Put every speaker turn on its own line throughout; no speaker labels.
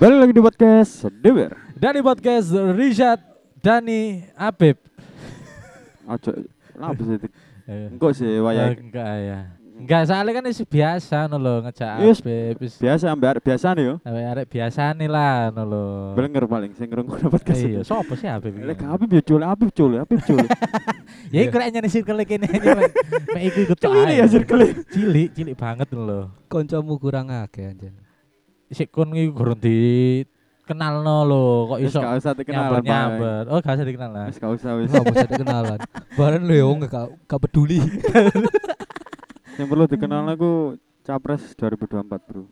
Balik lagi di podcast Dewir.
Dari podcast Rizat Dani Apip.
Aja kenapa sih? Tik?
Eh,
Engko sih waya.
enggak ya. Enggak soalnya kan isi biasa no lo ngejak
Yes.
Apip. Is,
Biasa ambil biasa nih yo.
Awek arek biasa nih lah no lo.
Belenger paling sing ngrungokno podcast.
Oh. Iya, sopo sih Apip?
Lek Habib yo cul, Habib cul, Habib cul.
Ya iku rek nyari circle kene ini. Mek mek iku ikut ae.
ya,
Cilik, cilik banget lo.
Koncomu kurang akeh anjen.
Sik kon iku kurang di kenal no lo. Kok
Wis
iso
gak usah dikenalan,
nyamber
Pak.
nyamber. Oh, gak usah dikenal lah.
Wis gak usah wis.
Enggak usah kenalan. Bareng lu ya wong gak gak peduli.
Yang perlu dikenal aku Capres 2024, Bro.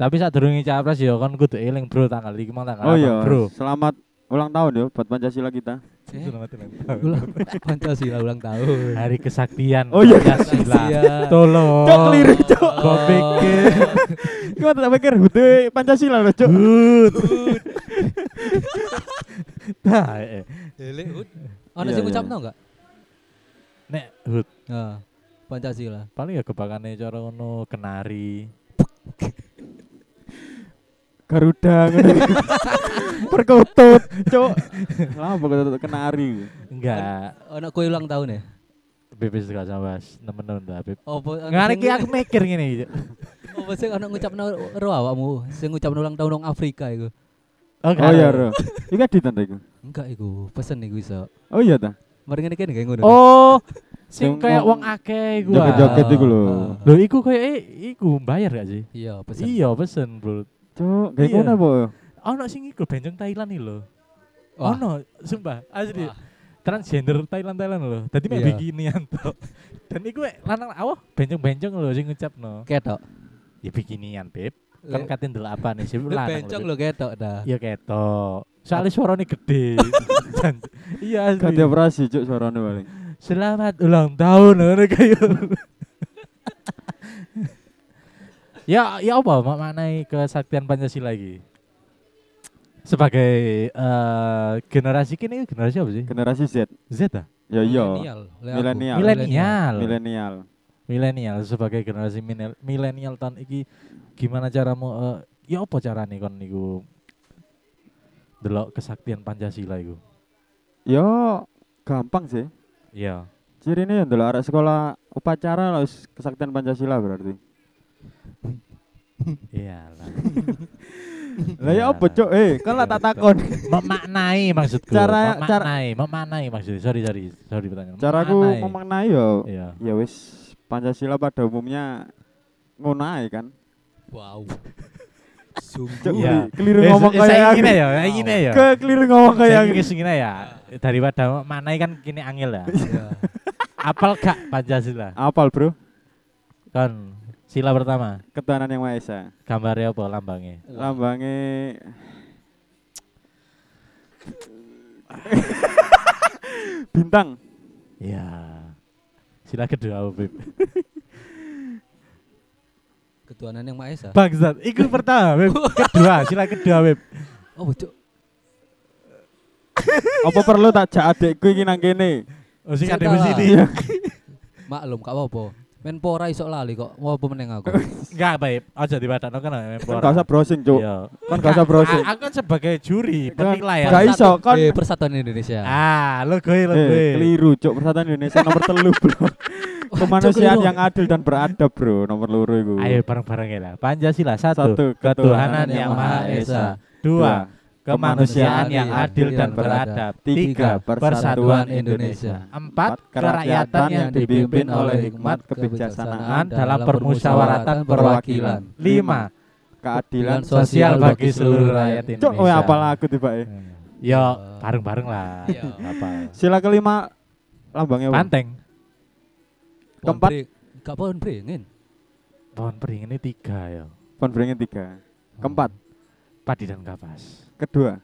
Tapi saat durungi capres ya kon kudu eling bro tanggal iki mang tanggal
Oh
apa,
iya,
bro.
selamat ulang tahun yo buat Pancasila kita.
Selamat ulang tahun.
Ulang Pancasila ulang tahun.
Eh? Hari kesaktian.
Oh iya,
Pancasila.
Pancasila.
Tolong.
Cok, keliru,
cok. Kok pikir.
Gua tak pikir hude Pancasila loh, Cuk.
Nah, eh.
Elek hut. Ana
Iya,
sing
iya.
ngucapno enggak?
Nek hut
Nah, Pancasila.
paling ya kebakane cara ngono kenari.
Garuda ngono. Perkutut, Cuk. Lah pokoknya kenari.
Enggak.
Ana kue ulang tahun ya?
Bebas gak sama bahas. Nemen-nemen dah, Beb.
Opo ana
Ngene
sing-
iki aku mikir ngene iki. Cok.
Opo sing ana ngucapno ro awakmu? Sing ngucapno ulang tahun nang Afrika iku.
Oh iya,
gak.
Ro. Iki edit ta iku.
Enggak iku, pesen iku iso.
Oh iya ta.
Mari ngene kene kayak ngono.
Oh, sing
Yang
kayak
ngomong-
wong akeh iku. ah.
Joget-joget iku lho.
Ah,
Lho iku kayak eh, iku bayar gak sih?
Iya, pesen.
Iya, pesen, Bro.
Cuk, kayak
Iya.
ngono apa?
ono sing iku benjong Thailand iki lho.
Wah.
Ono, sumpah, asli.
Wah.
Transgender Thailand Thailand lho. Dadi mek
Iya.
bikinian to. Dan iku mek lanang awah benjong-benjong lho sing ngucapno.
Ketok.
Ya bikinian, Beb. Kan
Lek-
katin delok apa nih sih
Lu
lanang.
Ya. bencong lo ketok dah.
Ya ketok. Soalnya suaranya gede. Dan- iya
Gak
asli.
operasi Cuk suarane paling.
Selamat ulang tahun ngono kayak. gitu. ya ya apa mak maknai kesaktian Pancasila lagi? Sebagai eh, generasi kini generasi apa sih?
Generasi Z.
Z ah?
Ya iya.
Milenial, lek aku.
Milenial.
Milenial.
Milenial.
Milenial sebagai generasi minel- milenial tahun iki gimana caramu eh, ya apa carane kon niku delok kesaktian Pancasila iku?
Yo Ya, gampang sih.
Iya.
Cirine yang ndelok arek sekolah upacara lah wis kesaktian Pancasila berarti.
Iyalah.
Lah ya apa Cuk? Eh, kan lah tak takon.
Iya. memaknai maksudku
Cara- cara-
memaknai memaknai maksudnya sorry sorry sorry pertanyaan
Caraku
Memaknai.
memaknai yo.
ya?
Ya
iya
wis Pancasila pada umumnya ngono ae kan.
Wow.
Cuk,
Sungguh.
Iya.
keli- keliru ngomong
Eh,
kayak
saiki
aku.
ngene ya saiki ngene ya
Ke keliru ngomong kayak
Saiki
aku.
ngene ya daripada memaknai kan kini angel ya
Iya.
apal gak Pancasila
Apal, Bro?
kon sila pertama
Ketahanan yang Maha Esa.
gambarnya apa lambangnya
Lambange bintang.
iya sila kedua apa, Bib
Ketuhanan yang Maha Esa.
bangsat iku pertama Bib kedua sila kedua Bib
Oh, cuk.
Apa perlu tak jak adekku iki nang kene?
oh sing ada
Sila
di
kedua.
sini
Maklum gak apa-apa. Menpora iso lali kok. Mau apa meneng aku.
enggak baik aja dibadatno kan
Kan gak usah browsing, Cuk.
Iya.
Kan gak usah browsing.
A- Aku kan sebagai juri
Kan-
penilai ya.
Gak iso,
Persatu-
kon-
eh, Persatuan Indonesia.
Ah, lo gue lo gue.
Eh, keliru, Cuk. Persatuan Indonesia nomor telu, Bro.
Wah,
Kemanusiaan
cuk,
yang adil dan beradab, Bro. Nomor loro iku.
Ayo bareng-bareng ya. lah. Pancasila satu,
Satu,
ketuhanan yang maha esa. Dua, kemanusiaan yang adil dan
Nah,
beradab. Tiga, persatuan Indonesia. Empat, kerakyatan yang dipimpin oleh hikmat kebijaksanaan dalam permusyawaratan perwakilan. Lima,
Keadilan
Keadilan
sosial bagi seluruh rakyat Indonesia.
Cuk, oh apal aku tiba eh.
Yo, bareng-bareng lah.
Iya.
Apa?
Sila kelima lambangnya apa?
Panteng.
Pohon
Keempat.
beri- Gak pohon beringin.
Pohon pering ini tiga ya.
Ponbringnya tiga. Keempat,
Padi dan kapas.
kedua.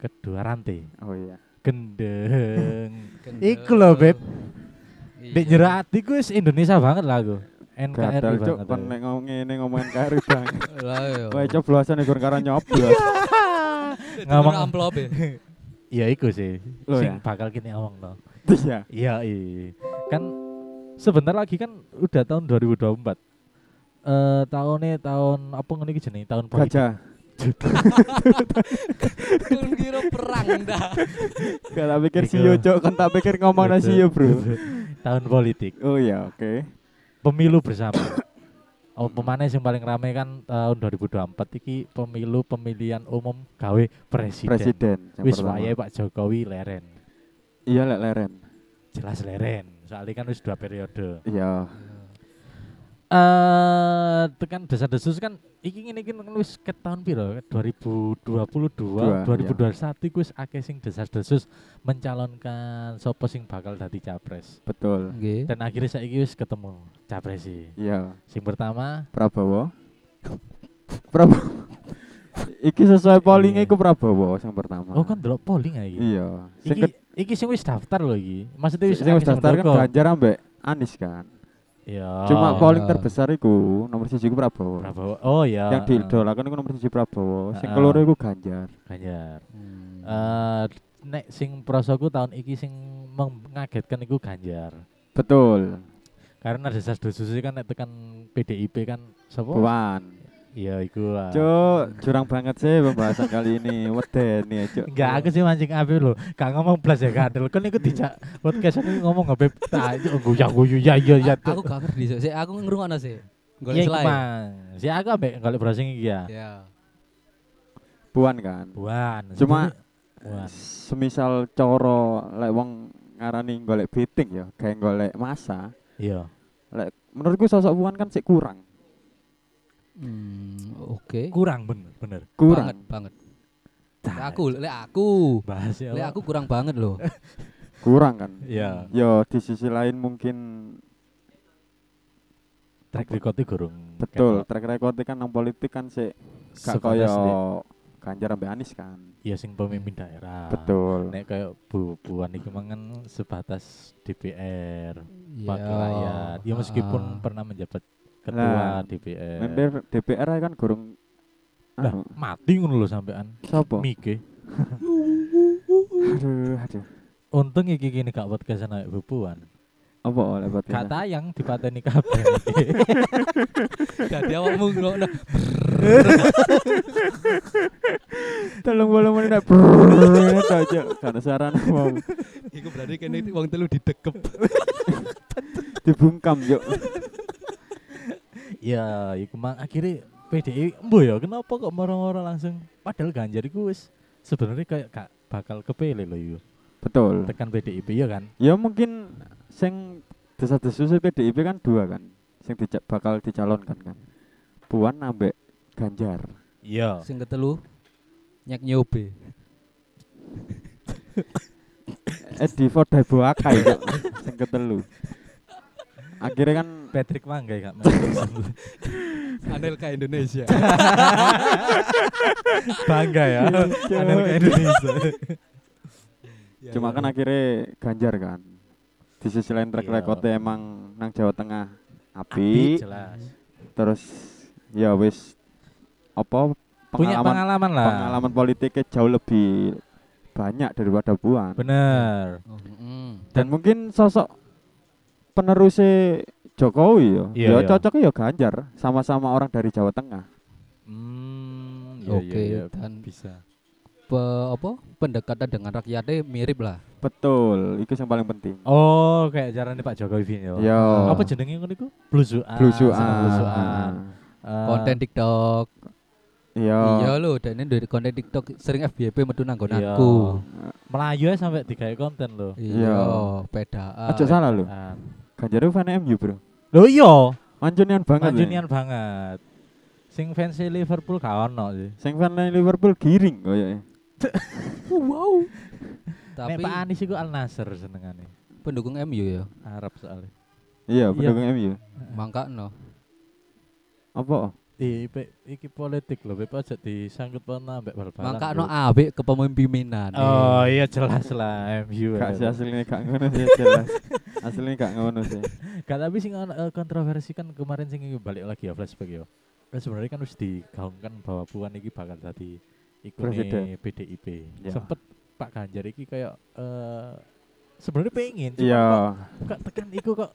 Kedua, rantai.
Oh iya.
Gendeng.
Gendeng.
Iku loh, Beb.
Iya.
Di jero ati ku wis Indonesia banget lah aku. NKRI
Gatel cuk
banget. ya.
kon
aku.
nek ngomong ngene ngomongin kari bang.
Lah iya.
Wae coblosan ikur karo nyoblos.
Iya.
Itu
ngomong-
kena amplop ya.
Ya iku sih.
Loh ya?
sing bakal kini awang no.
Iya.
Iya iya. Kan sebentar lagi kan udah tahun 2024. Eh tahunnya tahun apa ngene iki jenenge tahun politik.
Gajah.
Kurang kira perang dah.
Gak tak pikir
Iku.
siyo cok, kan tak pikir ngomong
Betul,
siyo bro.
betul. Tahun politik,
Oh iya oke.
pemilu bersama. Oh, pemanis yang paling ramai kan tahun 2024 iki pemilu pemilihan umum gawe presiden.
Presiden. yang
Wis
pertama.
wayahe Pak Jokowi leren.
Iya lek leren.
Jelas leren. Soalnya kan wis dua periode.
Iya.
Eh, tekan desa-desus kan iki ngene iki kan wis ke tahun piro? 2022,
Dua, iya.
2021 iku wis akeh sing desas-desus mencalonkan sapa sing bakal dadi capres. Hmm.
Betul.
Nggih.
Dan akhirnya saiki wis ketemu capres sih.
Iya.
Sing pertama
Prabowo. Prabowo. Iki sesuai polling iku Prabowo yang pertama.
Iya. oh kan delok polling ya iki.
Iya. Sing
Iki iki sing wis daftar loh iki. Maksudnya
ke-
wis
sing wis
akeh sing
daftar kan
mendukung.
Ganjar ambek Anies kan.
Iya.
Cuma
pol-
polling terbesar iku nomor 1 iku Prabowo.
Prabowo. Oh ya.
Yang diidolakan iku nomor 1 Prabowo, sing
Ah.
keloro iku Ganjar.
Ganjar.
Hmm.
Eh nek sing prosoku tahun iki sing mengagetkan iku Ganjar.
Betul.
Karena desas desus kan nek tekan PDIP kan sapa?
Puan.
Iya iku lah.
Cuk, curang banget sih pembahasan kali ini. Wedeni ya, Cuk.
Enggak, aku sih mancing api lho. Gak ngomong blas ya kadel. Kan iku dijak podcast ini ngomong ape tak guyu guyu ya ya ya.
A- Ah, Aku gak ngerti sih. Sik, Aku ngrungokno sih.
Iya
Golek
iku
slide.
mang. Si aku ambek golek browsing iki ya.
Ya.
Puan kan.
Buan.
Cuma-
Buan.
Semisal coro lek wong ngarani golek beating ya, kayak golek masa.
Iya.
Lek menurutku sosok Puan kan sik kurang.
Hmm, oke.
Kurang bener bener.
Banget
Kurang.
banget. Lek aku lek aku.
Bahas ya.
Lek
Pak.
aku kurang banget loh.
Kurang kan.
Iya.
Yo di sisi lain mungkin
Track record gurung.
betul track record kan nang politik kan sik gak
Sebatas
koyo
di-
Ganjar ambek Anies kan.
Ya sing pemimpin daerah.
Betul.
Nek kayak Bu Puan iki mangan sebatas DPR,
Iya.
wakil rakyat. Ya meskipun
Ah.
pernah menjabat ketua
Lah,
DPR.
Member DPR aja kan gurung
Iya. Lah,
anu,
mati ngono lho sampean.
Sopo?
Mike.
Aduh, aduh.
Untung iki kini gak podcast anak Bu Puan.
Apa oh, oleh buat
Gak tayang dipateni kabeh.
Dadi awakmu ngrungokno.
Tolong bolong menit brrrr aja karena saran mau
Iku berarti kene wong telu didekep.
dibungkam yuk.
ya, iku mang akhirnya PDI embo ya kenapa kok moro-moro langsung padahal Ganjar iku wis sebenarnya kayak gak bakal kepilih lho yo.
Hmm.
Betul.
Tekan PDIP ya kan.
Ya mungkin sing desa-desu sih PDIP kan dua kan. Sing dija- bakal dicalonkan kan. Puan ambek Ganjar.
Iya.
Sing ketelu nyek nyobe.
Eh di Fordai Buakai yuk. Sing ketelu. Akhirnya kan
Patrick Mangga ya Kak.
Anelka Indonesia.
Bangga ya.
Iya,
Anelka
iya.
Indonesia.
Ya,
cuma kan akhirnya Ganjar kan. Di sisi lain track
Iya.
recordnya emang nang Jawa Tengah api,
jelas.
terus ya wis apa
Punya
pengalaman
pengalaman lah.
pengalaman politiknya jauh lebih banyak daripada Puan.
Bener.
Oh, mm.
Dan mungkin sosok penerusnya Jokowi yo,
Iya,
ya
iya.
cocoknya ya Ganjar, sama-sama orang dari Jawa Tengah.
Hmm, iya,
Oke,
iya, iya.
dan-
bisa.
Pe- apa? Pendekatan dengan rakyatnya mirip lah.
Betul, itu yang paling penting.
Oh, kayak caranya Pak Jokowi Vin ya.
Yo,
Apa jenenge ngono iku? Blusukan. sama blusukan.
blusukan.
Eh,
Konten TikTok.
Yo,
Iya lho, dan ini dari konten TikTok sering FBP metu
iya.
nanggonanku.
Melayu ya sampai tiga konten loh.
Iya.
Iya, pedaan.
aja salah lo.
Ah.
Ganjar itu fan MU bro.
Loh iya,
Mancunian banget. ya.
mancunian banget. Sing fans e Liverpool gak ono sih.
Sing fan Liverpool giring oh iya. kayaknya.
Wow.
Nek
Tapi
Pak Eh. Anies iku Al Nasr senengane.
pendukung MU ya.
Arab soalnya.
Iya,
Iya.
pendukung MU.
Mangka no.
Apa?
Di, pe, iki politik loh, Beb aja disangkut pernah mbak bal
Mangka no abik kepemimpinan.
Oh iya jelas lah MU.
Gak sih
ya.
aslinya gak ngono sih jelas. aslinya gak ngono sih.
Gak tapi sing ono, eh, kontroversi kan kemarin sing iki balik lagi ya flashback ya. Kan sebenarnya kan harus digaungkan bahwa Puan iki bakal tadi
Presiden.
ikut PDIP.
Ya.
Sempet Pak Ganjar iki kayak eh sebenarnya pengen cuma
Iya.
kok, kok tekan iku kok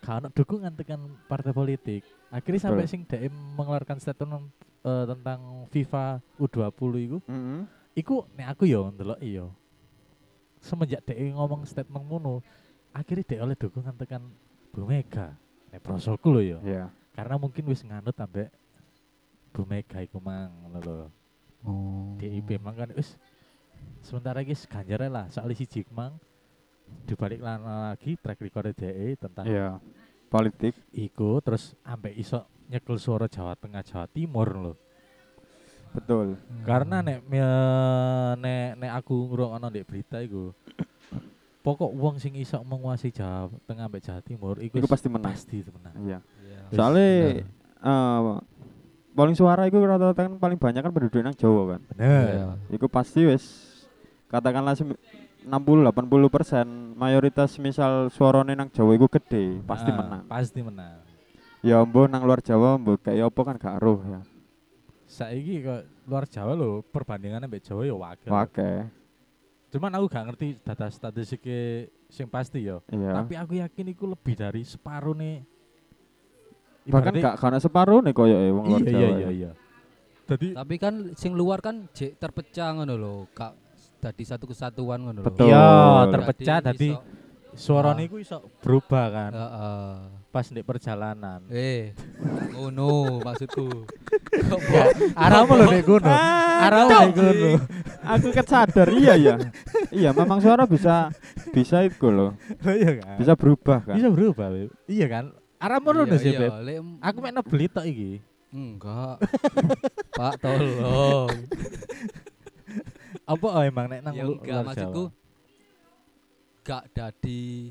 gak ono dukungan tekan partai politik. Akhirnya sampai
Betul.
sing DM mengeluarkan statement eh, tentang FIFA U20 iku
Mm-mm.
iku nek aku ya ndelok iya semenjak dhek ngomong statement ngono akhirnya dhek oleh dukungan tekan Bu Mega nek prosoku lho ya
Iya.
karena mungkin wis nganut ambek Bu Mega iku mang ngono lho
Oh.
Hmm.
DIP mang kan wis sementara guys ganjar lah soalnya si Jik mang dibalik lana lagi track record DE tentang
Iya. Politik.
iku terus ambek iso nyekel suara Jawa Tengah Jawa Timur lho
Betul.
karena nek me- nek nek aku ngrungokno ndek berita iku pokok wong sing iso menguasai Jawa Tengah ambek Jawa Timur iku
Iku pasti
pasti
menang.
pasti temenan.
Iya.
Iya.
Wis,
Soalnya eh paling suara itu rata-rata kan paling banyak kan penduduk nang Jawa kan.
Iya.
bener.
Iku pasti wis katakanlah sem- 60 80 persen mayoritas misal suarane nang Jawa iku gede pasti
Ah,
menang.
Pasti menang.
Ya mbo nang luar Jawa mbo kayak apa kan gak roh ya.
Saiki kok luar Jawa lho perbandingannya ambek Jawa ya wakil.
Wake.
Cuman aku gak ngerti data statistiknya sing pasti ya.
Iya.
Tapi aku yakin iku lebih dari separuh nih.
Bahkan
Ibaratnya-
gak karena separuh nih koyo wong luar Jawa.
iya
ya.
iya iya iya. Jadi
Tapi kan sing luar kan jek terpecah ngono lho, Kak. Dadi satu kesatuan ngono lho.
Betul.
iya
Dadi
terpecah
Dadi
dadi
iso-
suarane
Ah.
iku iso berubah kan
Heeh.
pas di perjalanan.
Eh. Ngono maksudku. Kok
Ya, Arahmu lho nek ngono. Arahmu nek ngono.
Aku kesadar iya ya. Iya, memang suara bisa bisa itu loh.
Lho iya kan.
Bisa berubah kan.
Bisa berubah, iya. Beb. Iya kan? Arahmu
Iya,
ngono sih, Beb. Aku
Aku
mek nebeli tok iki.
enggak. Pak
Oh.
tolong.
Apa oh, emang nek nang
ya
lu-
enggak
luar
maksudku
Jawa?
gak dadi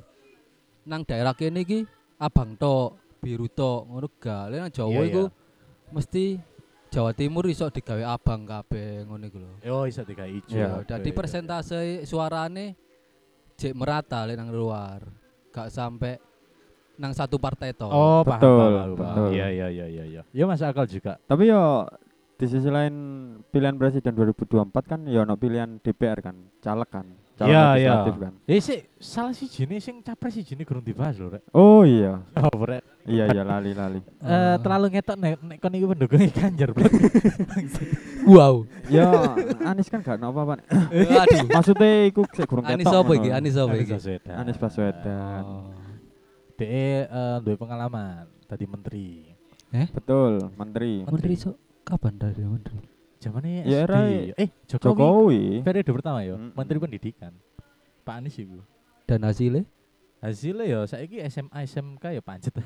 nang daerah kene iki abang tok biru tok ngono gak Lah nang
Iya,
Jawa
iya.
iku mesti Jawa Timur iso digawe abang kabeh ngono iku lho
Oh, iso tiga ijo.
Iya,
Oke,
dadi
oke.
persentase suarane jek merata lek nang luar gak sampai nang satu partai tok
Oh, paham,
Betul,
paham, paham, paham.
betul.
Iya, iya, iya, iya, iya. Ya masuk akal juga.
Tapi yo di sisi lain pilihan presiden 2024 kan ya ono pilihan DPR kan, caleg kan, caleg
Iya, iya.
legislatif kan.
Eh, sih, salah si jenis sing capres si jenis kurang dibahas lho, Rek.
Oh iya.
Oh, Rek.
Iya ya lali-lali.
Eh, terlalu ngetok nek nek kon iki pendukungnya Ganjar, Beb.
wow
Ya Anies kan gak apa-apa.
aduh
Maksudnya iku sik kurang ketok.
Anies apa
ngono.
iki Anies apa
Anies
iki
Baswedan.
Anies Baswedan.
Oh.
Dia eh duwe pengalaman tadi menteri.
Betul, menteri.
Menteri iso kapan dari menteri
Zamannya
Ya,
SD.
era
eh, Jokowi.
Jokowi.
Periode pertama ya,
Mm-mm.
menteri pendidikan. Pak Anies ibu.
dan hasilnya
Hasilnya ya saiki SMA SMK ya pancet.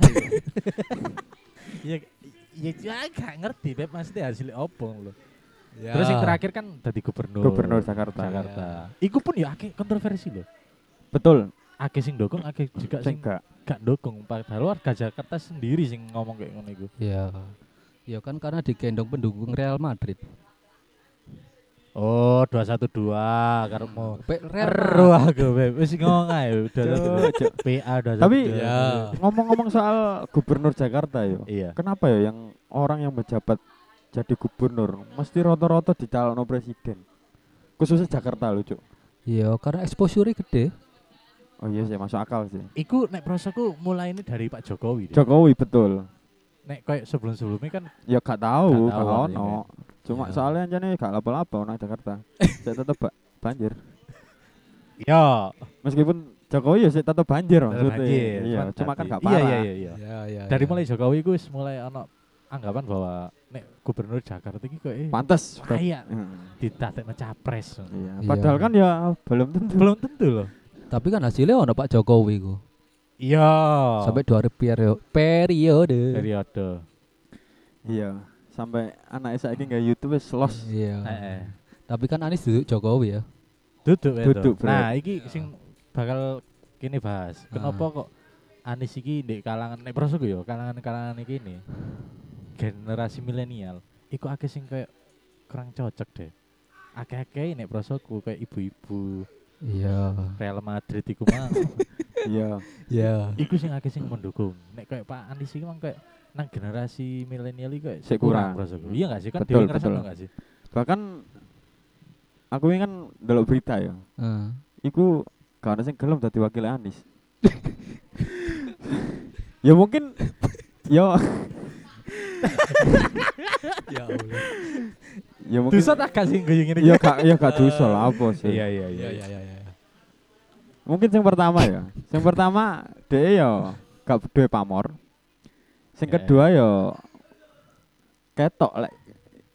ya ya ya gak ngerti beb maksudnya hasilnya opong loh. Terus yang terakhir kan tadi gubernur.
Gubernur Jakarta.
Jakarta. Iku pun ya akeh kontroversi loh.
Betul.
Akeh sing dukung, akeh juga
Sing
sing
gak.
gak dukung. Padahal warga Jakarta sendiri sing ngomong kayak ngono iku.
Ya. Ya kan karena digendong pendukung Real Madrid.
Oh, 212 karepmu.
Pe- Real
Ero
Madrid.
aku beb. Wis ngomong ae udah
Cuk, cuk.
PA udah.
Tapi-
Ya.
Ngomong-ngomong soal gubernur Jakarta yo.
Iya.
Kenapa ya yang orang yang menjabat jadi gubernur mesti rata-rata dicalonkan presiden? Khususnya Jakarta loh, Cuk.
Ya karena exposure gede.
Oh iya sih, masuk akal sih.
Iku nek prosoku mulai ini dari Pak Jokowi. deh.
Jokowi betul.
Nek kayak sebelum-sebelumnya kan
Ya gak tahu,
Gak tahu,
gak
iya,
ono.
iya.
Cuma
Iya.
soalnya anjane gak lapo-lapo nang Jakarta. Saya tetep ba- banjir.
ya
Meskipun Jokowi ya sih tetep banjir maksudnya.
banjir.
Iya,
cuman
cuma kan
tadi-
gak parah.
Iya iya iya. iya.
Ya ya.
Dari mulai Jokowi gue wis mulai ana anggapan bahwa nek gubernur Jakarta iki kok eh
Pantes.
kayak
Heeh.
ditatekno capres.
Iya,
Iya.
padahal kan ya belum tentu.
Belum tentu loh.
Tapi kan hasilnya ono Pak Jokowi ku.
Iya.
Sampai dua periode. Periode.
periode.
Iya, sampai anak saya ini nggak YouTube wis los.
Iya.
Heeh.
Tapi kan Anies duduk Jokowi ya.
Duduk itu.
Duduk, Bro.
Nah, iki sing bakal kini bahas.
Ah.
Kenapa kok Anies iki di kalangan nek prosoku yo, kalangan-kalangan iki nih generasi milenial iku akeh sing kayak kurang cocok deh. Akeh-akeh nek prosoku kayak ibu-ibu
Iya.
Ah.
Real Madrid iku mah.
Iya.
Iya.
iku sing akeh sing mendukung. Nek kayak Pak Anies iki mang kayak nang generasi milenial iki kayak
Sik kurang.
prosoku. Iya enggak sih? Kan
Betul,
dhewe ngrasakno
betul.
enggak sih?
Bahkan aku ini kan delok berita ya.
Eh.
Iku gak ada sing gelem dadi wakil Anies. ya mungkin ya
ya Allah.
Ya mungkin
Dosa tak gak sih guyu ngene
ya gak ya gak dosa lah apa sih.
Iya iya
Ya
iya.
ya ya ya.
Mungkin yang pertama ya. Yang pertama dhek ya gak duwe pamor. Sing
Ya.
kedua ya ketok lek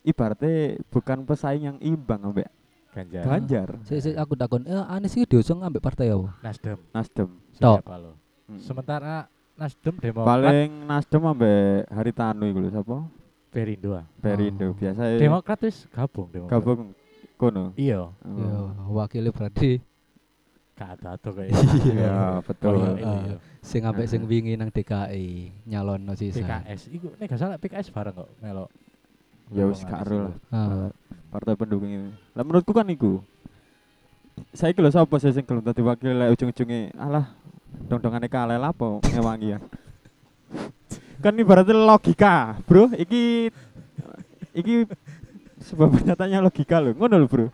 ibaratnya bukan pesaing yang imbang ambek
Ganjar.
Ganjar
Sik sik aku takon, eh Anies iki diusung ambek partai apa?
Nasdem.
Nasdem.
Tok.
Siapa lo?
Mm.
Sementara Nasdem Demokrat
Paling Nasdem ambek Haritanu iku lho sapa?
Perindo. ah.
Perindo
Oh.
biasa
Demokrat wis gabung
Iya.
Demokrat.
gabung kono.
Iya,
Oh.
Ya, wakile berarti
gak ada kayak.
Iya,
Koyo
betul.
Iya.
ini, ya. yo.
sing ambek sing wingi nang E, DKI nyalonno sisa.
PKS iku nek gak salah PKS bareng kok melok.
Ya wis
Melok
gak
Anies
ero
iku.
lah.
Ah.
partai pendukung ini. Lah menurutku kan iku. Saya lho sapa sih sing gelem dadi wakil lek ujung-ujunge alah dong-dongane kalah lah apa ewangi ya. kan ibaratnya logika, Bro. Iki iki sebuah pernyataannya logika lho. Ngono lho, Bro.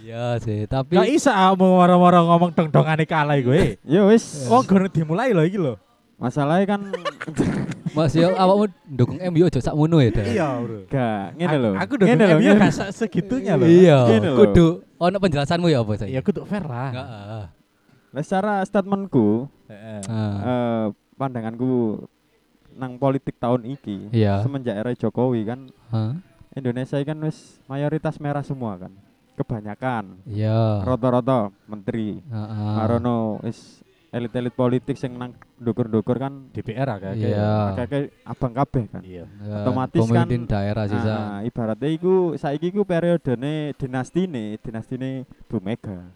Iya sih, tapi
Gak isa mau waro-waro ngomong dong-dongane kalah iku eh.
Ya wis.
Wong gone dimulai lho iki lho.
Masalahnya kan
Mas yo awakmu ndukung MU aja sak ngono ya, Dan.
Iya, Bro.
gak ngene lho.
Aku dong
Ngene lho,
MU
ngene.
gak sak segitunya lho.
Iya,
Gini lho.
kudu ono penjelasanmu ya apa
Ya
Iya,
saya?
kudu fair lah.
Heeh.
Lah secara statementku,
Heeh.
eh, pandanganku nang politik tahun iki
Iya.
semenjak era Jokowi kan
Hah?
Indonesia kan wis mayoritas merah semua kan. Kebanyakan.
Iya.
Ah.
Roto-roto menteri.
Heeh.
Marono wis elit-elit politik sing nang dukur-dukur kan
DPR agak
Iya.
Ah.
kakek abang kabeh kan.
Iya.
Ya,
otomatis kan-
pemimpin daerah sisa.
Ah, ibaratnya iku saiki iku periodene dinastine, dinastine Bu Mega.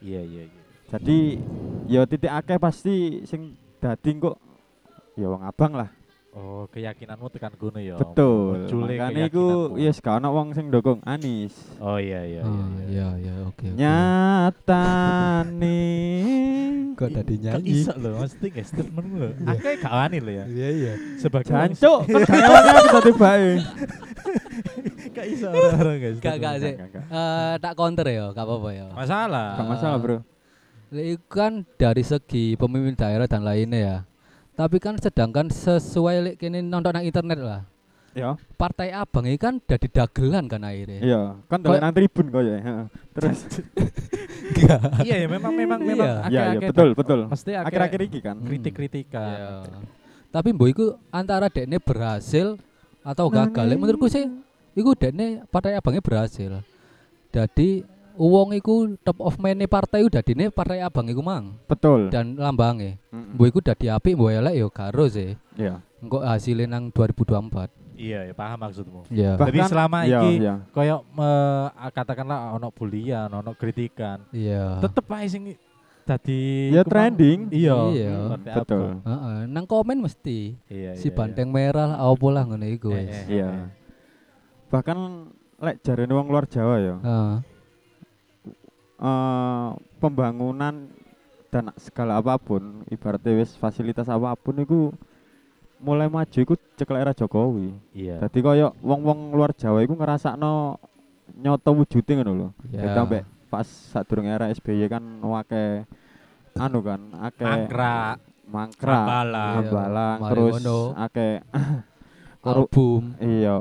Iya, iya, iya.
Jadi ya titik akeh pasti sing dadi kok ya wong abang lah.
Oh, keyakinanmu tekan kono ya.
Betul.
Munculnya
Makanya iku ya
keyakinanmu.
yes gak ono wong sing ndukung Anies.
Oh iya iya iya.
Ah,
iya.
Iya, iya, oke. oke.
Nyatane
Kok tadi
Gak
nyanyi?
iso lho, mesti gak statement lho. Aku gak wani lho ya.
Iya, iya.
Sebagai
Jancuk, kan gak ngelaknya aku tadi bae.
Ah.
gak iso orang-orang guys.
Gak, gak sih.
Gak, gak, gak.
Eh, tak counter ya, gak apa-apa ya.
Masalah.
Gak masalah, Bro.
Lah, Itu kan dari segi pemimpin daerah dan lainnya ya. Tapi kan sedangkan sesuai lek kene nonton nang internet lah.
Ya,
Partai Abang ini kan dadi dagelan kan akhirnya.
iya. Kan dalan
Kok-
nang tribun kok ya. heeh. Terus
iya ya memang memang
Iya.
memang.
Iya, iya,
akeh-akeh
betul,
dak-
betul.
Mesti
akhir-akhir iki kan.
Iya.
kritik-kritikan.
Tapi mbok iku antara dekne berhasil atau gagal. Lek menurutku sih iku dekne partai abangnya berhasil. Jadi uang iku top of mind partai udah dine partai abang iku mang
Betul. Hmm.
dan lambangnya.
Mm-mm.
Mbok iku dadi apik mbok elek yo karo sih.
Iya.
Engko hasilnya nang 2024.
Iya, iya, paham maksudmu.
Iya.
Jadi
Bahkan-
selama
Iya,
iki
iya.
koyok me- katakanlah ono bulian, ono kritikan,
Iya.
tetep ae sing dadi
Ya
kuman-
trending.
Iya.
Iya.
Partai
Betul.
Abang.
Heeh, nang komen mesti
Iya, iya,
si
iya.
banteng merah lah apa lah ngono iku
Eh,
wis.
eh,
Iya.
eh.
Bahkan lek jarene wong luar Jawa ya.
Heeh.
eh, pembangunan dan segala apapun ibaratnya wis fasilitas apapun iku mulai maju iku ceklek era Jokowi.
Iya.
Dadi koyo wong-wong luar Jawa iku ngrasakno nyoto wujude ngono lho.
Iya.
Kita mbek pas sadurunge era SBY kan wake anu kan akeh
Angkrak,
mangkrak,
Krabala.
Iya.
hambalang,
Mari
terus
ngono.
akeh korup
Album.
iya.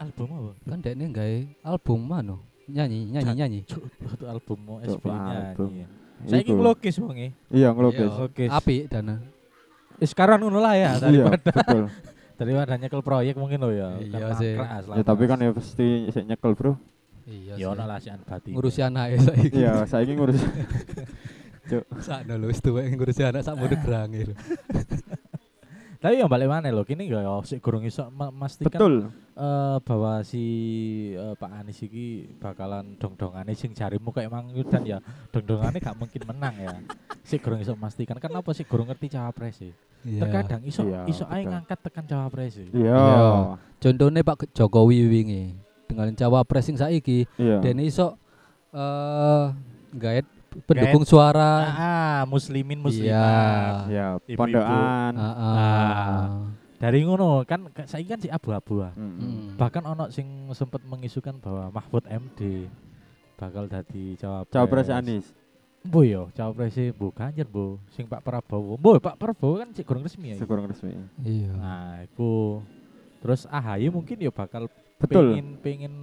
Album apa?
kan dekne gawe album mano nyanyi nyanyi
Jan-
nyanyi
Cuk, Itu album oh, mau
Cuk,
SB-nya.
album.
Saya
Iku.
ingin lukis wong e.
Iya, ngelukis.
Lukis.
apik dana
Sekarang ngono lah
Iya,
ya daripada
betul.
daripada nyekel proyek mungkin lo ya.
Iya
Kan
sih.
mangkrak selama-
Ya tapi kan ya pasti sik nyekel, Bro.
iya ya.
ya ono lah sian batin.
ngurusi anak saiki
Iya, saiki ngurus
sakno lho wis tuwek ngurusi anak sak ya. mudhe grange lho
Tapi yang balik mana loh, kini ya, gak sih kurang iso me- memastikan
betul.
eh, bahwa si eh, Pak Anies ini bakalan dong-dongane sing jarimu kayak Mang Yudan ya dong-dongane gak mungkin menang ya. Si kurang iso memastikan kenapa sih kurang ngerti cawapres sih.
Iya.
Terkadang iso
Iya,
iso ae
betul.
ngangkat tekan cawapres sih.
Iya.
contohnya Pak Jokowi wingi dengan cawapres sing saiki
Iya.
dene iso eh gaet pendukung suara
Ah, muslimin muslimat.
Iya.
Iya,
Ibu-ibu.
pondokan.
Ah,
Ah.
ah.
Dari ngono kan saya kan si abu-abu ah.
Mm.
Mm.
Bahkan ono sing sempat mengisukan bahwa Mahfud MD bakal dadi cawapres.
Cawapres Anies.
Bu yo, cawapres e Bu Ganjar Bu, sing Pak Prabowo. Bu, Pak Prabowo kan sik kurang resmi ya.
Sing kurang resmi.
iya
Nah, iku terus AHY mungkin yo bakal
Betul.
Pengen pengen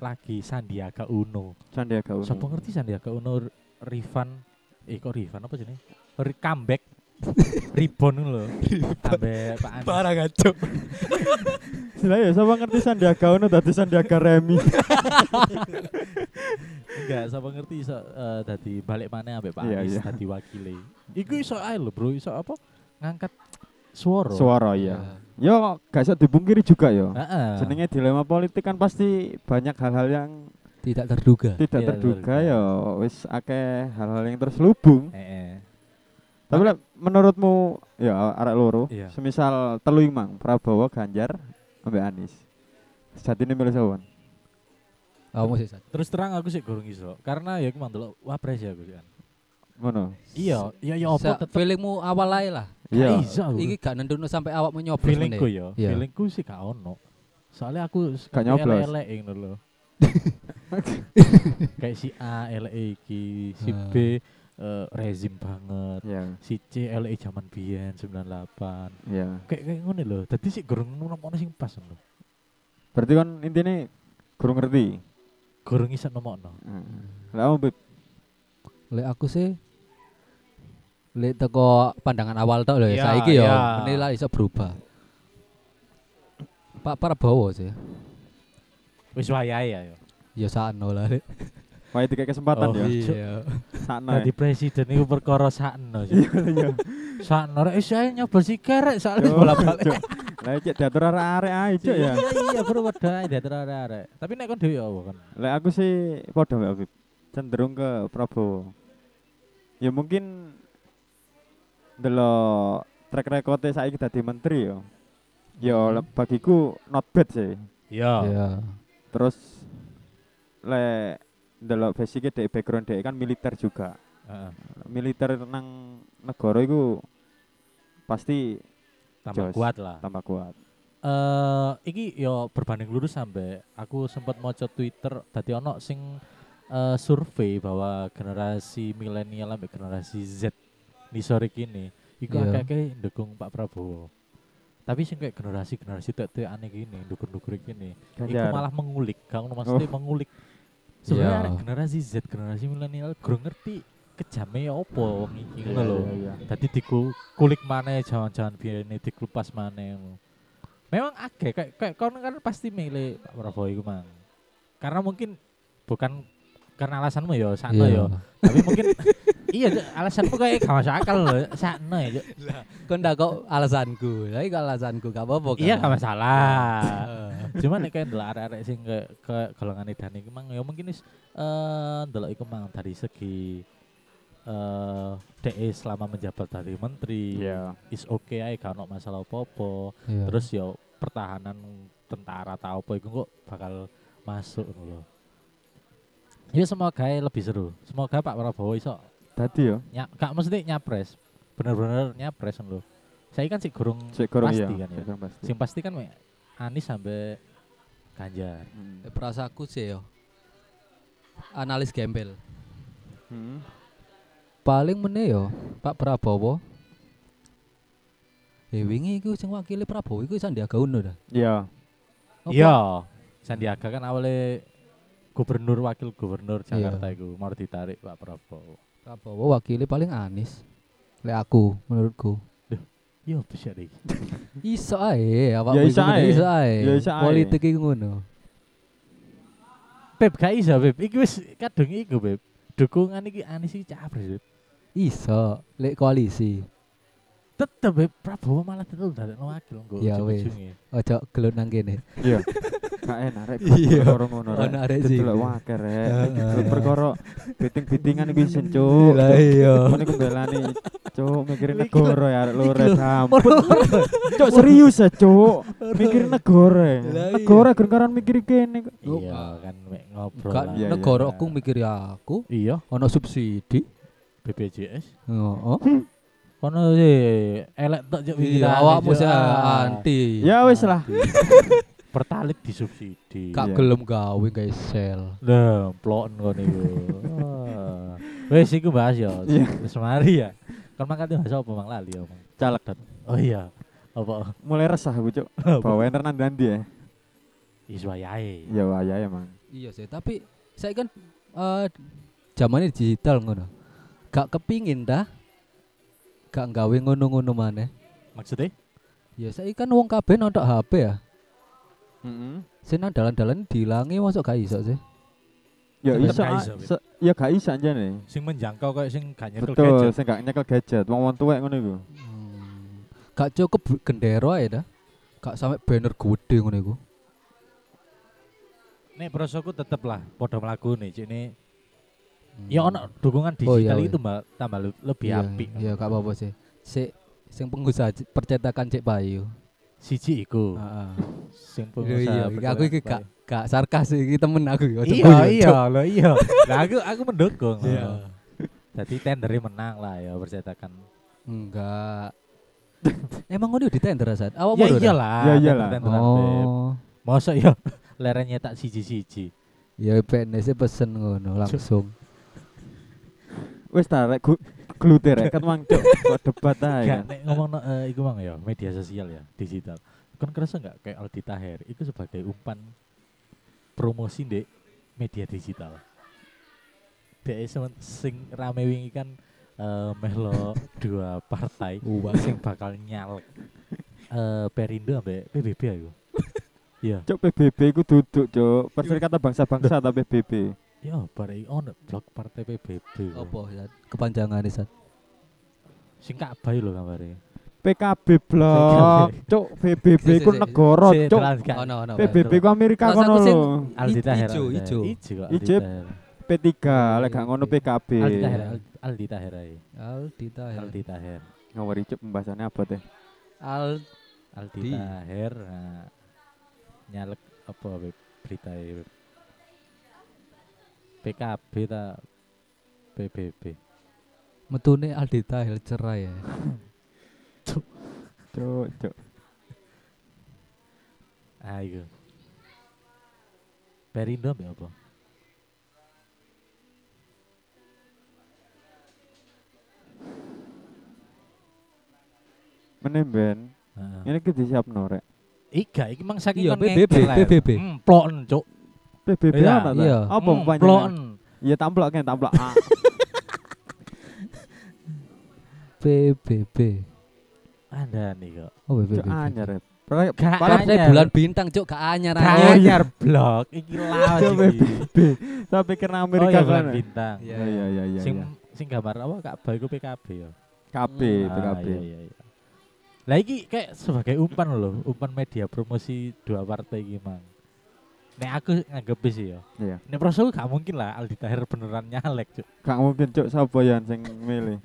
lagi Sandiaga Uno.
Sandiaga Uno.
Sopo ngerti Sandiaga Uno R- Rifan eh kok Rifan apa jenenge? Ri comeback Ribon ngono lho. Ambek Pak Anies.
Parah kacau.
Lah ya sapa ngerti Sandiaga Uno dadi Sandiaga Remi.
Enggak, sapa ngerti iso eh, dadi balik mana ambek Pak
Iya,
Anies
iya.
dadi wakile. Iku iso ae lho, Bro, iso apa? Ngangkat suara.
Suara ya.
Iya.
Yo gak iso dipungkiri juga yo.
Heeh.
Jenenge dilema politik kan pasti banyak hal-hal yang
Tidak terduga.
tidak
Iya,
terduga
betul. Eh,
ya wis akeh hal-hal yang terselubung
Heeh.
tapi lek menurutmu ya arek loro
ah. Iya.
semisal telu imang Prabowo Ganjar ambek Anies sejatine milih sawan
Kamu sih. Sat.
Terus terang aku sih gorong iso karena ya aku mandelok wapres ya aku sih kan.
ngono
Iya, iya ya apa
Sa- Feelingmu awal ae lah.
iya
iso aku.
Iki gak nentuno sampai awakmu nyoblos
feelingku
meneh.
ya,
Iya.
feelingku sih gak ono. Soalnya aku
Gak nyoblos.
elek ngono lho. Kayak si A elek iki, si
Ah.
B eh, rezim banget,
iya
si C elek zaman biyen 98.
iya
Kayak kayak ngono lho. Dadi sih gorong nemu ono sing pas lho.
berarti kan intine kurang ngerti
Gorong iso nemokno.
lah mau Bib?
Lek aku sih lek teko pandangan awal tok lho ya.
Ya,
Iya,
Saiki ya
ya.
menilai iso berubah. Pak Prabowo sih.
Wis wayahe ya yo.
Ya sakno lah. Lek.
Wae dikek kesempatan
Oh,
ya
Iya.
sakno ya.
Dadi presiden iku perkara sakno sih. Sakno rek iso ae nyoblos si kerek soalnya
Yo,
bola-balik.
Oh, Cuk. lah cek diatur arek-arek ae Cuk, ya
iya bro wadah dia terarek tapi nek kon dhewe ya apa kon
Lek aku sih padha mbak Habib. Cenderung ke Prabowo. Ya mungkin delok track record saiki dadi menteri ya. Ya le- bagiku not bad sih.
iya
Iya.
Terus lek delok basicnya dek background dek kan militer juga.
Heeh.
Militer nang negara iku pasti
tambah
Jos.
kuat lah
tambah kuat.
eh iki yo berbanding lurus sampe aku sempat maca Twitter tadi ono sing eh, survei bahwa generasi milenial sampai generasi Z di sore kini iku
Iya.
akeh-akeh dukung Pak Prabowo tapi sing kayak generasi generasi tak aneh gini dukun-dukun gini Iku malah mengulik, kang maksudnya
Oh.
mengulik. Sebenarnya
Iya.
arek generasi Z, generasi milenial, kurang ngerti kejame ya opo wong
Iya,
iki ngono lho.
iya, iya.
Dadi diku kulik maneh jangan-jangan biyene dikelupas maneh. Memang agak kayak kayak kon kan pasti milih Pak Prabowo iku mang. Karena mungkin bukan karena alasanmu ya sakno
Iya.
ya, tapi mungkin iya Cuk, alasanmu kayak gak masuk akal lho, sakno ya. Cuk.
Kon ndak kok alasanku. Lah iki alasanku gak apa-apa. kan?
Iya gak masalah.
Heeh.
Cuman nek kayak ndelok arek-arek sing ke, ke golongan edan iki mang ya mungkin wis eh ndelok iku mang dari segi eh DE selama menjabat dari menteri
Iya.
is oke ae gak ono masalah apa-apa.
Iya.
Terus ya pertahanan tentara ta apa iku kok bakal masuk ngono lho. Ya semoga ae lebih seru. Semoga Pak Prabowo iso
Tadi ya.
nyap gak mesti nyapres. Bener-bener nyapres ngono lho. Saya kan sih gurung
Cek kurang
pasti
ya.
kan ya.
Cek kurang pasti.
Sing pasti kan mek Anies sampai Ganjar.
Hmm.
Lek perasaanku sih yo. Analis gembel.
Hmm.
paling meneh yo Pak Prabowo Eh wingi iku sing wakile Prabowo iku Sandiaga Uno dah.
Iya.
Apa?
Iya, Sandiaga kan awalnya gubernur wakil gubernur
Iya.
Jakarta itu mau ditarik Pak Prabowo.
Prabowo wakile paling Anies. Lek aku menurutku.
Iya bisa deh.
Iso ae awakmu
Ya
iku
iso
meneh,
ae.
Iso ae.
Ya iso ae.
Politik iku ngono.
Beb gak iso Beb. Iki wis kadung iku Beb. Dukungan iki Anies iki capres Beb.
Iso lek koalisi.
Tetep Beb Prabowo malah tetep dari wakil nggo
Ya wes.
ujung-ujungnya.
Ojo gelut nang kene.
Iya. Gak enak rek.
Iya.
Perkara ngono rek.
Ono arek
Itu
sih.
lho waker rek.
Heeh.
Lu perkara biting-bitingan iku isin cuk.
Lah iya.
Ngene ku belani cuk mikirin
Iki
negara ya arek lu rek sampun.
Loro-loro.
Cuk serius ya cuk. Mikirin negara. ya.
Lah iya.
Negara gerkaran mikir kene kok.
Yo,
Iya
Pak.
kan mek ngobrol.
Gak
lah.
Iya, iya.
negara aku mikir ya aku
Iya,
ono subsidi.
BPJS.
Heeh.
Kono sih elek tok juk
Iya,
pikirannya,
awakmu
Cuk.
sih
Ah.
anti.
Ya wis lah.
Pertalit disubsidi.
Iya.
Gak gelem gawe gawe sel.
Lah, plon kon iku. Ah. Wis iku bahas ya.
Iya.
Wis mari ya. Kon mangkat bahas apa Mang Lali omong.
Calek
Oh iya. Apa?
mulai resah aku cuk. Bawa enter nang ndi ya.
iswayae
Ya wayahe emang.
Iya sih, tapi saya kan eh zamannya digital ngono. Gak kepingin dah gak nggawe ngono-ngono maneh.
maksudnya
Ya saya kan wong kabeh nonton HP ya.
Heeh.
Senang dalan-dalan dilangi masuk gak iso sih.
Ya
Tetep
iso,
gak
ah,
iso, Bib.
se- ya gak iso anjane.
sing menjangkau kayak sing gak nyekel
Betul,
gadget
sing gak nyekel gadget, wong-wong tuwek ngono iku.
Hmm. Gak cukup bu- gendera ya dah. Gak sampai banner gede ngono iku.
nek prosoku tetep lah podo mlaku nih cik nih
Hmm.
ya ono dukungan
Oh,
digital
iya, weh.
itu mbak tambah lu- lebih
Iya,
apik
Iya, gak apa-apa sih. Sik sing pengusaha c- percetakan Cek Bayu.
siji iku
Heeh.
sing
Ah. Iya,
pengusaha
iya, aku iki
perjalanan
gak gak sarkas iki temen aku iki.
baik.
Ojo
iya
guyon,
iya
Cok.
lo iya lah aku aku mendukung
Iya.
oh. jadi tendernya menang lah ya percetakan
Enggak. Emang ngono di tender Sat? Awak
ya
moro, Dah?
iyalah
Iya, iyalah.
tender-tenderan, Beb.
Oh.
masa ya lerengnya tak siji-siji
Ya PNS pesen ngono langsung.
Wis ta rek gu- glute rek kan mang cok, kok debat ae.
Gak,
kan.
nek ngomong no, eh, iku mang ya, media sosial ya, digital. Kan kerasa nggak kayak Aldi Taher, itu sebagai umpan promosi di media digital. Dia semen- sing rame wingi kan eh, melo dua partai
Uwak.
sing bakal nyalek eh Perindo ambek PBB aku. ya, Iya,
Cok PBB iku duduk cok, Perserikatan Bangsa-Bangsa ta PBB.
ya bareng ono blok partai PBB.
Apa Sat? Kepanjangane Sat?
Sing kabeh lho gambare.
PKB blok, cok PBB
Sik, sik,
iku
sik.
negara
Si,
cok.
telan gak?
Ono ono.
PBB ku Amerika
Terus aku
kono
sing-
lho.
Aldi
Ijo,
Taher.
ijo.
Ijo kok Aldi
Ijo.
Taher.
P3 lek gak ngono PKB.
Aldi Taher, Al- Aldi Taher ae.
Aldi Tahir.
Aldi Taher.
Ngawur cok pembahasannya apa teh?
Al
Aldi
Di.
Taher nah, nyalek apa web berita e? web. PKB ta PBB.
metune Aldi Tahir cerai ya.
Cok cok.
Ah iku. Perindo mbek ya apa?
Menemben.
Heeh.
Ini kita disiapno rek.
Iga iki mang saking
Iya
kon
PBB
ngekel, Ler.
PBB.
Hmm, ploken, Cuk.
PBB
Iya,
ana ta?
iya.
Apa
Hmm,
panjenengan?
Ploken.
Ya tamplok kan tamplok. Ah,
PBB.
Anda nih kok.
Oh
cok
PBB.
anyar. rek. Pare-
Gak
pare-
Partai
anyar.
Kan bulan bintang cuk gak anyar
Gak
anyar.
anyar blok. Iki lawas
Cok
iki.
PBB. Saya pikir nang
Oh
Amerika
ya
kono.
bulan bintang.
Iya,
Ya ya ya ya.
Sing
ya.
sing gambar apa Kak iku PKB ya.
KB
Ah,
Hmm.
PKB.
iya, iya, iya. Lah iki kayak sebagai umpan loh, umpan media promosi dua partai iki, Mang. Nek aku nganggep sih ya.
Iya.
Nek prosoku gak mungkin lah Aldi Tahir beneran nyalek, Cuk.
Gak mungkin cok sapa yang sing milih.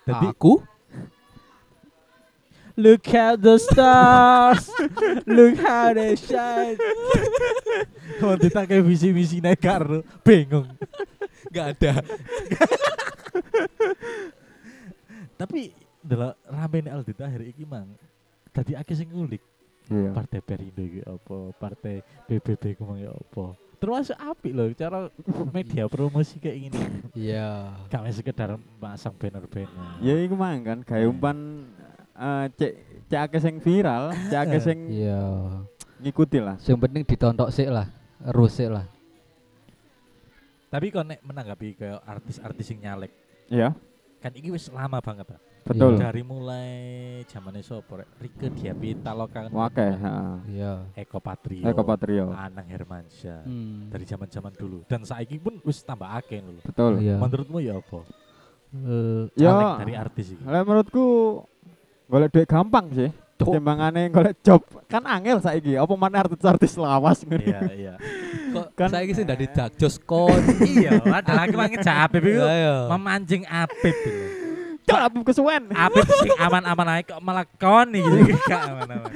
Dadi
Aku
look at the stars. look how they shine. Kalau ditake visi-visi naik karo bingung.
gak ada.
Tapi delok rame nek Aldi Tahir iki, Mang. Dadi akeh sing ngulik.
Iya.
partai Perindo iki apa, partai PBB ku mang ya apa. Termasuk apik loh cara media promosi kayak gini.
Iya.
Gak hanya sekedar masang banner-banner.
Ya iku mang kan gawe
Iya.
umpan eh, cek cek akeh sing viral, cek
Eh,
akeh sing
Iya.
ngikuti lah.
Yang penting ditontok sik lah, rusik lah.
Tapi kau nek menanggapi kayak artis-artis yang nyalek,
Iya,
kan ini wis lama banget lah.
betul.
Iya.
Dari mulai zamannya sopo rek, Rike Diapita Loka kan.
Oke, heeh.
Iya.
Eko Patrio.
Eko Patrio.
Anang Hermansyah.
Hmm.
Dari zaman-zaman dulu dan saiki pun wis tambah akeh lho.
Betul.
Iya.
Menurutmu ya apa?
Eh,
Ya,
Nyalek dari artis iki.
lek menurutku golek duit gampang sih.
Cuk.
Timbangane golek job kan angel saiki. Apa mana artis-artis lawas ngene.
Iya, iya.
kok
Kan-
saiki sing dadi jakjos kon.
Iya,
Iya,
padahal aku pengen Apip iku
Ayo.
memancing Apip gitu.
Cok, aku kesuwen.
Apip sing aman-aman aja kok malah koni gitu gak aman-aman.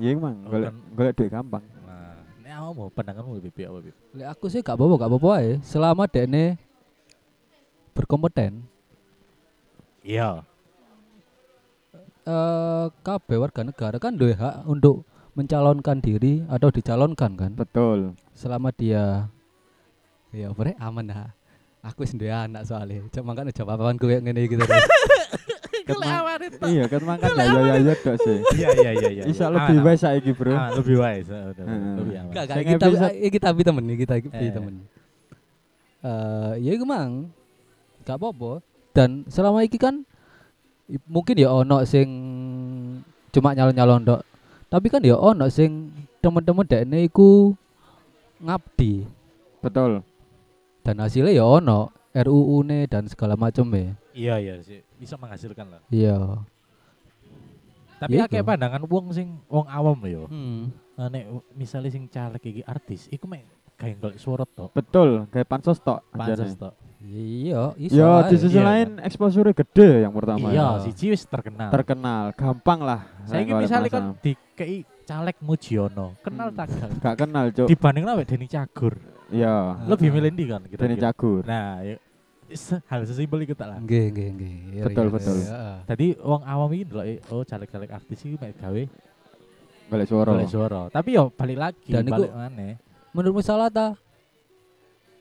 Iya, Mang. Golek
Bukan.
golek duit gampang.
Nah, ini apa mau pandanganmu lebih apa Bib?
Lek aku sih gak apa-apa, gak apa-apa ae. Selama dekne berkompeten,
Iya.
eh kabeh warga negara kan duwe hak untuk mencalonkan diri atau dicalonkan kan.
Betul.
Selama dia ya bre aman ha. kan Aku sendiri anak soalnya. Cak mangkat jawab apaan kowe ngene iki terus.
Ket-
Kelawan
Iya, kan makanya ya ya ya tok sih.
Iya iya iya iya.
Bisa lebih
Aman,
wise saiki,
aman.
Gitu.
Bro.
Aman, lebih wise. eh, udah,
Heeh.
Lebih aman.
Enggak,
Sing
kita
episode-
eh, kita bi temen, kita bi
Eh.
temen. Eh, ya iku mang. Gak apa-apa. Dan selama iki kan i- mungkin ya ono sing cuma nyalon-nyalon dok. Tapi kan ya ono sing temen-temen dekne iku ngabdi
Betul.
dan hasilnya ya ono RUU ne dan segala macam ya.
Iya iya sih. Bisa menghasilkan lah.
Iya.
Tapi
Iya,
akeh
iku.
pandangan wong sing wong awam lho yo.
Hmm.
Nah, nek misalnya sing caleg iki artis, iku mek kayak golek suara tok.
Betul, kayak pansos tok.
Pansos
anjane.
tok.
Iya, iso
Ya,
ae.
di sisi
Iya,
lain exposure gede yang pertama.
Iya,
ya.
siji wis terkenal.
Terkenal, gampang lah. Nah,
Saiki
Oleh
misalnya
masa.
kan dikei caleg Mujiono, kenal
Hmm.
tak gak?
gak kenal, Cuk.
Dibanding lah Deni Cagur.
Iya.
Lebih milih ndi kan kira-kira?
Dene cagur.
Nah, ya, se- hal sesimpel iku tak lah.
Nggih, nggih, nggih. Iya,
Betul,
iya,
betul.
iya, iya.
Tadi wong awam iki ndelok eh, oh caleg-caleg artis iki mek gawe
Golek suara.
golek suara. Tapi yo balik lagi,
Dan iku-
balik maneh.
Menurutmu salah ta?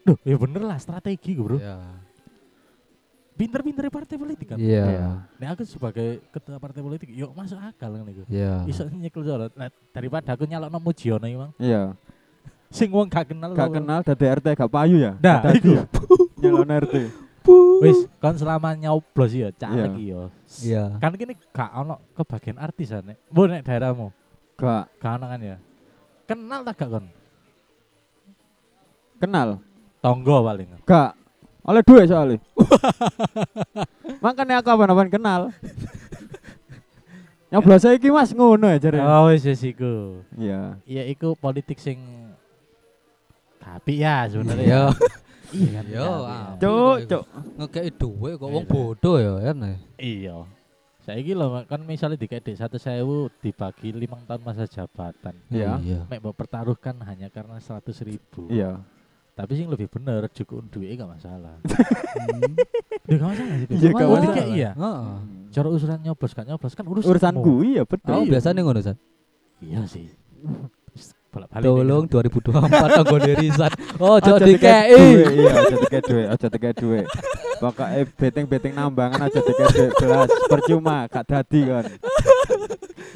Duh, ya bener lah strategi gue bro.
Iya.
Pinter-pinter partai politik kan.
Iya.
Iya.
Nah aku sebagai ketua partai politik, yuk masuk akal kan iku.
Iya.
Bisa nyekel suara. Nah, daripada aku nyalok nomo Jono emang.
Iya.
Sing wong gak kenal.
Gak
lo-
kenal dadi RT gak payu ya.
Nah,
Dadi
iku.
ya. Nyalon RT.
Wis, kon selama nyoblos ya, caleg
Iya.
yo.
Iya.
Kan kini gak ono kebagian artis ya, nek. Bu nek daerahmu,
Gak
gak ono kan ya. Kenal tak gak kon?
kenal.
Tonggo paling.
Gak oleh duit soalnya. Makanya aku apa-apaan kenal. Nyoblos iki Mas ngono ya jare.
Oh wis wis iku.
Iya.
Ya iku politik sing tapi ya
Iya.
sebenarnya. Iya kan.
Iya,
tapi ya.
ah.
Cuk, cuk.
Ngekei duwe kok wong
Iya.
bodoh ya, kan. ya.
Iya. Saiki lho kan misalnya dikek satu sewu dibagi limang tahun masa jabatan.
Iya.
Iya.
Mek mbok pertaruhkan hanya karena seratus ribu.
Iya.
Tapi sing lebih bener cukup duitnya gak masalah.
Hmm.
Ya gak masalah sih.
Iya, gak
Malah
masalah.
dikek iya.
Heeh.
Cara urusan nyoblos gak nyoblos kan urusan
Urusanku iya
Oh,
betul.
biasanya ngono, San.
Iya sih. Bolak balik.
Tolong 2024 tanggo dirisan. Oh,
Aja
jauh
tiket duit,
dikei.
Iya, aja tiket duit, aja tiket duit. Pokoknya beteng-beteng nambangan aja tiket duit belas percuma gak dadi kan.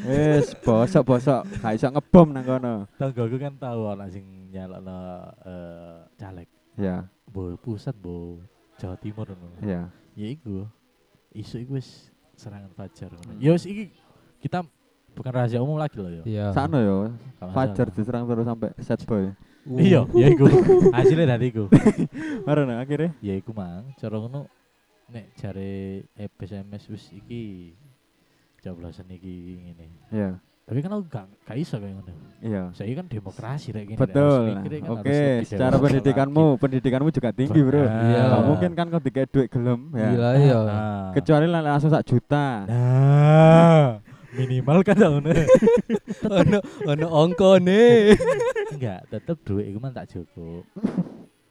Wis, bosok-bosok gak iso ngebom nang kono.
Tanggo gue kan tahu orang sing nyalakno eh, caleg.
Ya,
Bo pusat bo Jawa Timur ngono.
ya.
ya iku isu iku wis serangan fajar
Hmm.
ngono. ya wis iki kita bukan rahasia umum lagi loh ya
Iya.
Sakno yo,
Gak masalah.
Fajar diserang terus sampai set boy.
iya ya iku hasilnya dari iku
Marah akhirnya.
ya iku mang cara ngono nek jare SMS wis iki coblosan iki ngene
Iya.
tapi kan aku gak, gak iso kayak ngono
Iya.
saya kan demokrasi kayak gini
Betul. Oke, secara pendidikanmu, pendidikanmu juga tinggi, Bro.
Iya.
Gak mungkin kan kau tiga duit gelem
Gila
ya.
iya.
Kecuali lah langsung sak juta.
nah minimal kan ngono
Ono ono ongkone.
enggak tetep duit iku mah tak cukup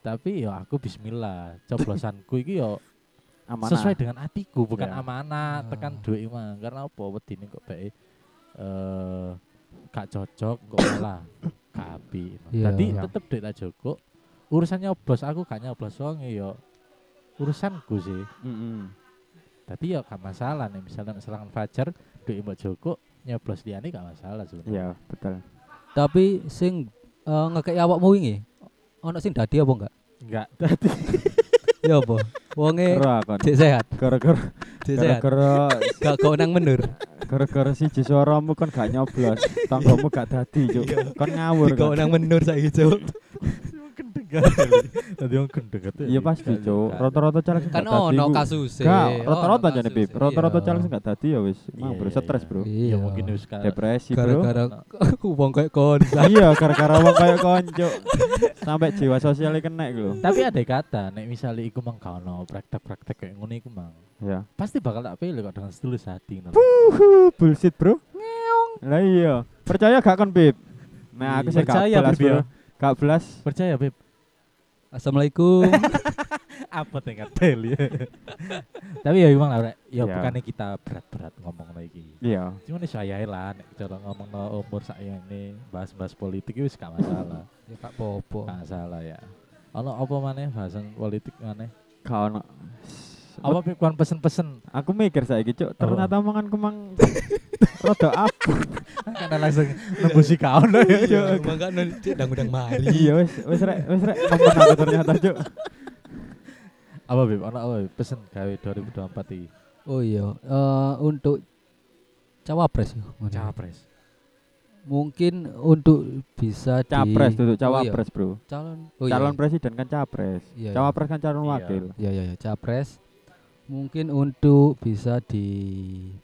tapi yo aku bismillah coblosanku iki yo
Amanah.
sesuai dengan atiku bukan
Ya.
amanah tekan
Ah.
duit mah karena apa wedine kok bae eh gak cocok kok malah kapi
Iya.
tadi
Ya.
tetep duit tak cukup urusan nyoblos aku gak nyoblos wong yo urusanku sih
Mm-mm.
tadi yo gak masalah nih misalnya nek serangan fajar duit mbok cukup nyoblos liyane gak masalah sebenarnya
Iya, betul.
Tapi sing eh, ngekei awakmu wingi ono sing dadi apa enggak?
enggak
Ya apa? Wonge
Kera kon.
cek sehat,
Gara-gara
cek Eh. sehat.
gara-gara
Gak kau nang mendur.
gara-gara siji suaramu kon gak nyoblos, tanggamu gak dadi, Cuk. Kon ngawur kon.
Kau nang mendur saiki, Cuk.
wong gendeng tadi wong gendeng
Iya pasti, Cuk. Rata-rata caleg sing
kan
gak dadi
ono
ku-
kasus
Gak, rata-rata aja nih, Bib. Rata-rata
Iya.
caleg sing gak dadi ya wis. Emang
Iya,
bro
iya,
stres,
iya.
Bro.
ya mungkin wis kan
Depresi, Bro.
gara-gara wong kayak kon
iya gara-gara wong kaya konco sampai jiwa sosialnya kena iku lho
tapi ada kata nek misalnya iku mang gak ono praktek-praktek kayak ngono iku mang
ya
pasti bakal tak pilih kok dengan setulus hati ngono.
uhu Oh, bullshit bro lah iya percaya gak kon bib nah aku sih gak
Percaya,
belas
Bib,
bro
ya.
gak belas
percaya beb
assalamualaikum
apa tengah tel ya tapi ya emang lah Rek.
Ya.
ya bukannya kita berat-berat ngomong lagi
iya
cuman iso ayahe lah nek cara ngomong no umur sakjane bahas-bahas politik itu wis gak masalah
ya pak bobo
gak masalah ya ono apa maneh bahasan politik maneh
gak ono
Apa pikuan pesen-pesen?
Aku mikir saiki, Cuk, ternyata omonganku mang rada apa.
Karena langsung nembusi kaon lho ya.
Iya,
Cuk.
Mangga ndang-ndang mari.
Iya wis, wis rek, wis rek momen aku ternyata, Cuk.
Apa Bib? Ana apa Bib? pesen gawe 2024 iki?
Oh iya, eh, untuk cawapres ya, ngono.
Capres.
Mungkin untuk bisa di-
Capres duduk
Oh iya,
cawapres, Bro.
Calon. Oh iya.
calon presiden kan capres.
Iya, iya.
Cawapres kan calon
Iya.
wakil.
Ya ya ya, capres. Mungkin untuk bisa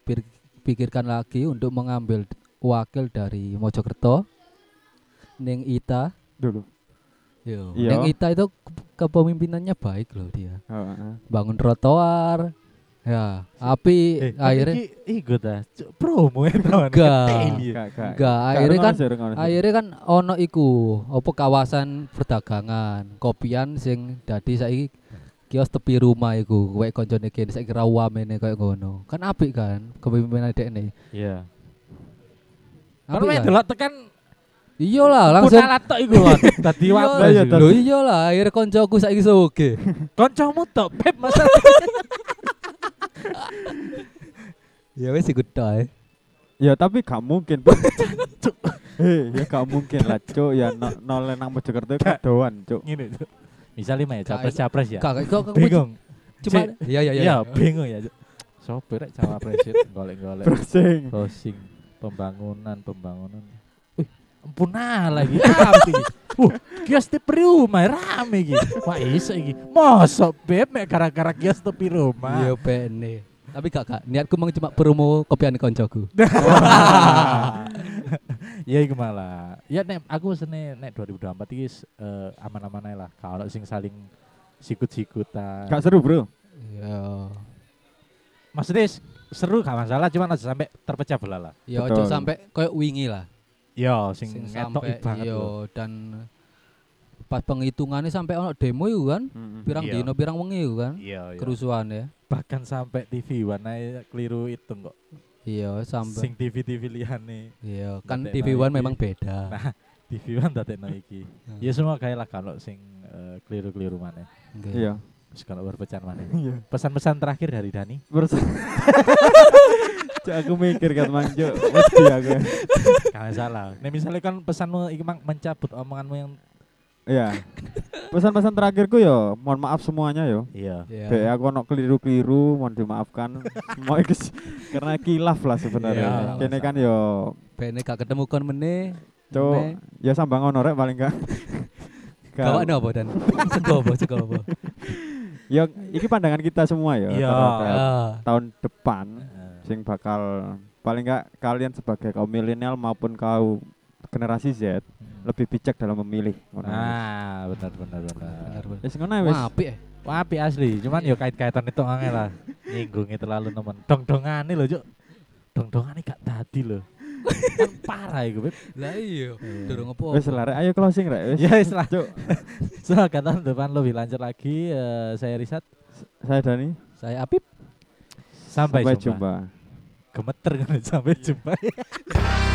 dipikirkan lagi untuk mengambil wakil dari Mojokerto. Ning Ita.
Dulu.
Yo.
Iya.
Ning Ita itu ke- kepemimpinannya baik loh dia.
Heeh.
Bangun trotoar. Ya, api akhirnya
Eh, iki gue ta. Cuk, Promo ya teman.
Enggak.
ya.
Gak, gak.
enggak
Gak,
akhirnya kan
rengono sih, rengono sih.
akhirnya kan ono iku apa kawasan perdagangan kopian sing dadi saiki kios tepi rumah iku kowe koncone kene saiki rawamene koyo ngono kan apik kan kepemimpinan dekne
Iya. Kan
apik
main
kan
delok tekan
iyalah langsung
punalat tok iku kan. Dadi
Iya,
wakil
iya,
iku.
tet-
lho iyalah akhirnya koncoku saiki soge
Kancamu tok Beb masalah.
ya wis iku tok
Ya tapi gak mungkin. Cuk. Hei, ya gak mungkin lah, Cuk. Ya no- nol nang Mojokerto gak doan, Cuk.
Ngene. Cuk. Misalnya mah ya
Gak,
capres-capres ya.
kakak kok
Bingung.
cuma
Cek.
iya iya iya
Iya, bingung ya. Sopir rek cawapres Cuk. golek-golek.
Browsing.
Browsing pembangunan pembangunan. Wih, empuna lagi. Apa iki? Wuh, Uh, kios tepi rumah rame iki. Wah, iso iki. Mosok beb mek gara-gara kios tepi
iya
rumah.
bene tapi gak gak niatku mau cuma promo kopian koncoku
Ya iku malah. Ya nek aku sene nek 2024 iki eh, aman-aman ae lah. Kalau sing saling sikut-sikutan.
Gak seru, Bro.
iya
Maksudnya s- seru gak masalah, cuman aja sampai terpecah belah lah.
ya ojo
Betul.
sampai koyo wingi lah
Yo, sing,
sing
ngetok banget
sampai
lho.
iyo dan pas penghitungannya sampai ono demo itu kan pirang
Iya.
dino pirang wengi itu kan
Iya, iya.
kerusuhan ya
bahkan sampai TV warna keliru hitung kok.
iya sampai
Sing TV TV liyane.
iya kan
Ngetek
TV One
lagi.
memang beda
Nah, TV One dadekno iki.
Hmm.
Ya semua kayak lah kalau sing eh, keliru-keliru maneh.
Nggih.
Iya.
Terus kalau berpecahan maneh.
Iya.
Pesan-pesan terakhir dari Dani.
Terus Cuk, aku mikir kan, Mang, Cuk. Mesti aku.
Kalau salah. Nah, misalnya kan pesanmu iki mang mencabut omonganmu yang
Iya. Pesan-pesan terakhirku ya, mohon maaf semuanya yo.
iya.
Iya.
Be aku ono keliru-keliru, mohon dimaafkan. Mau iki- karena kilaf lah
Iya.
sebenarnya. Kene kan yo
bene gak ketemu kon meneh
Cuk, ya sambang ono rek paling gak. Gak-
kawan apa dan sego apa sego apa
Ya iki pandangan kita semua ya
Iya.
terhadap
Ah,
tahun depan
Eh,
sing bakal paling enggak kalian sebagai kaum milenial maupun kaum generasi Z lebih bijak dalam memilih. Ngono.
Nah, benar benar benar.
bener bener
Wis ngono ae wis.
Wah, apik ya.
Wah, api asli. Cuman yo kait-kaitan itu angel lah. Nyinggungnya terlalu nemen. Dong-dongane lho, Cuk. Dong-dongane gak tadi lho. kan parah iku, Beb.
Lah iya, durung apa.
Wis lah rek, ayo closing rek wis.
Ya wis lah.
Cuk,
So, kata depan lebih lanjut lagi eh, saya riset
saya Dani.
Saya Apip.
sampai,
Sampai
jumpa.
jumpa.
Gemeter kan sampai jumpa.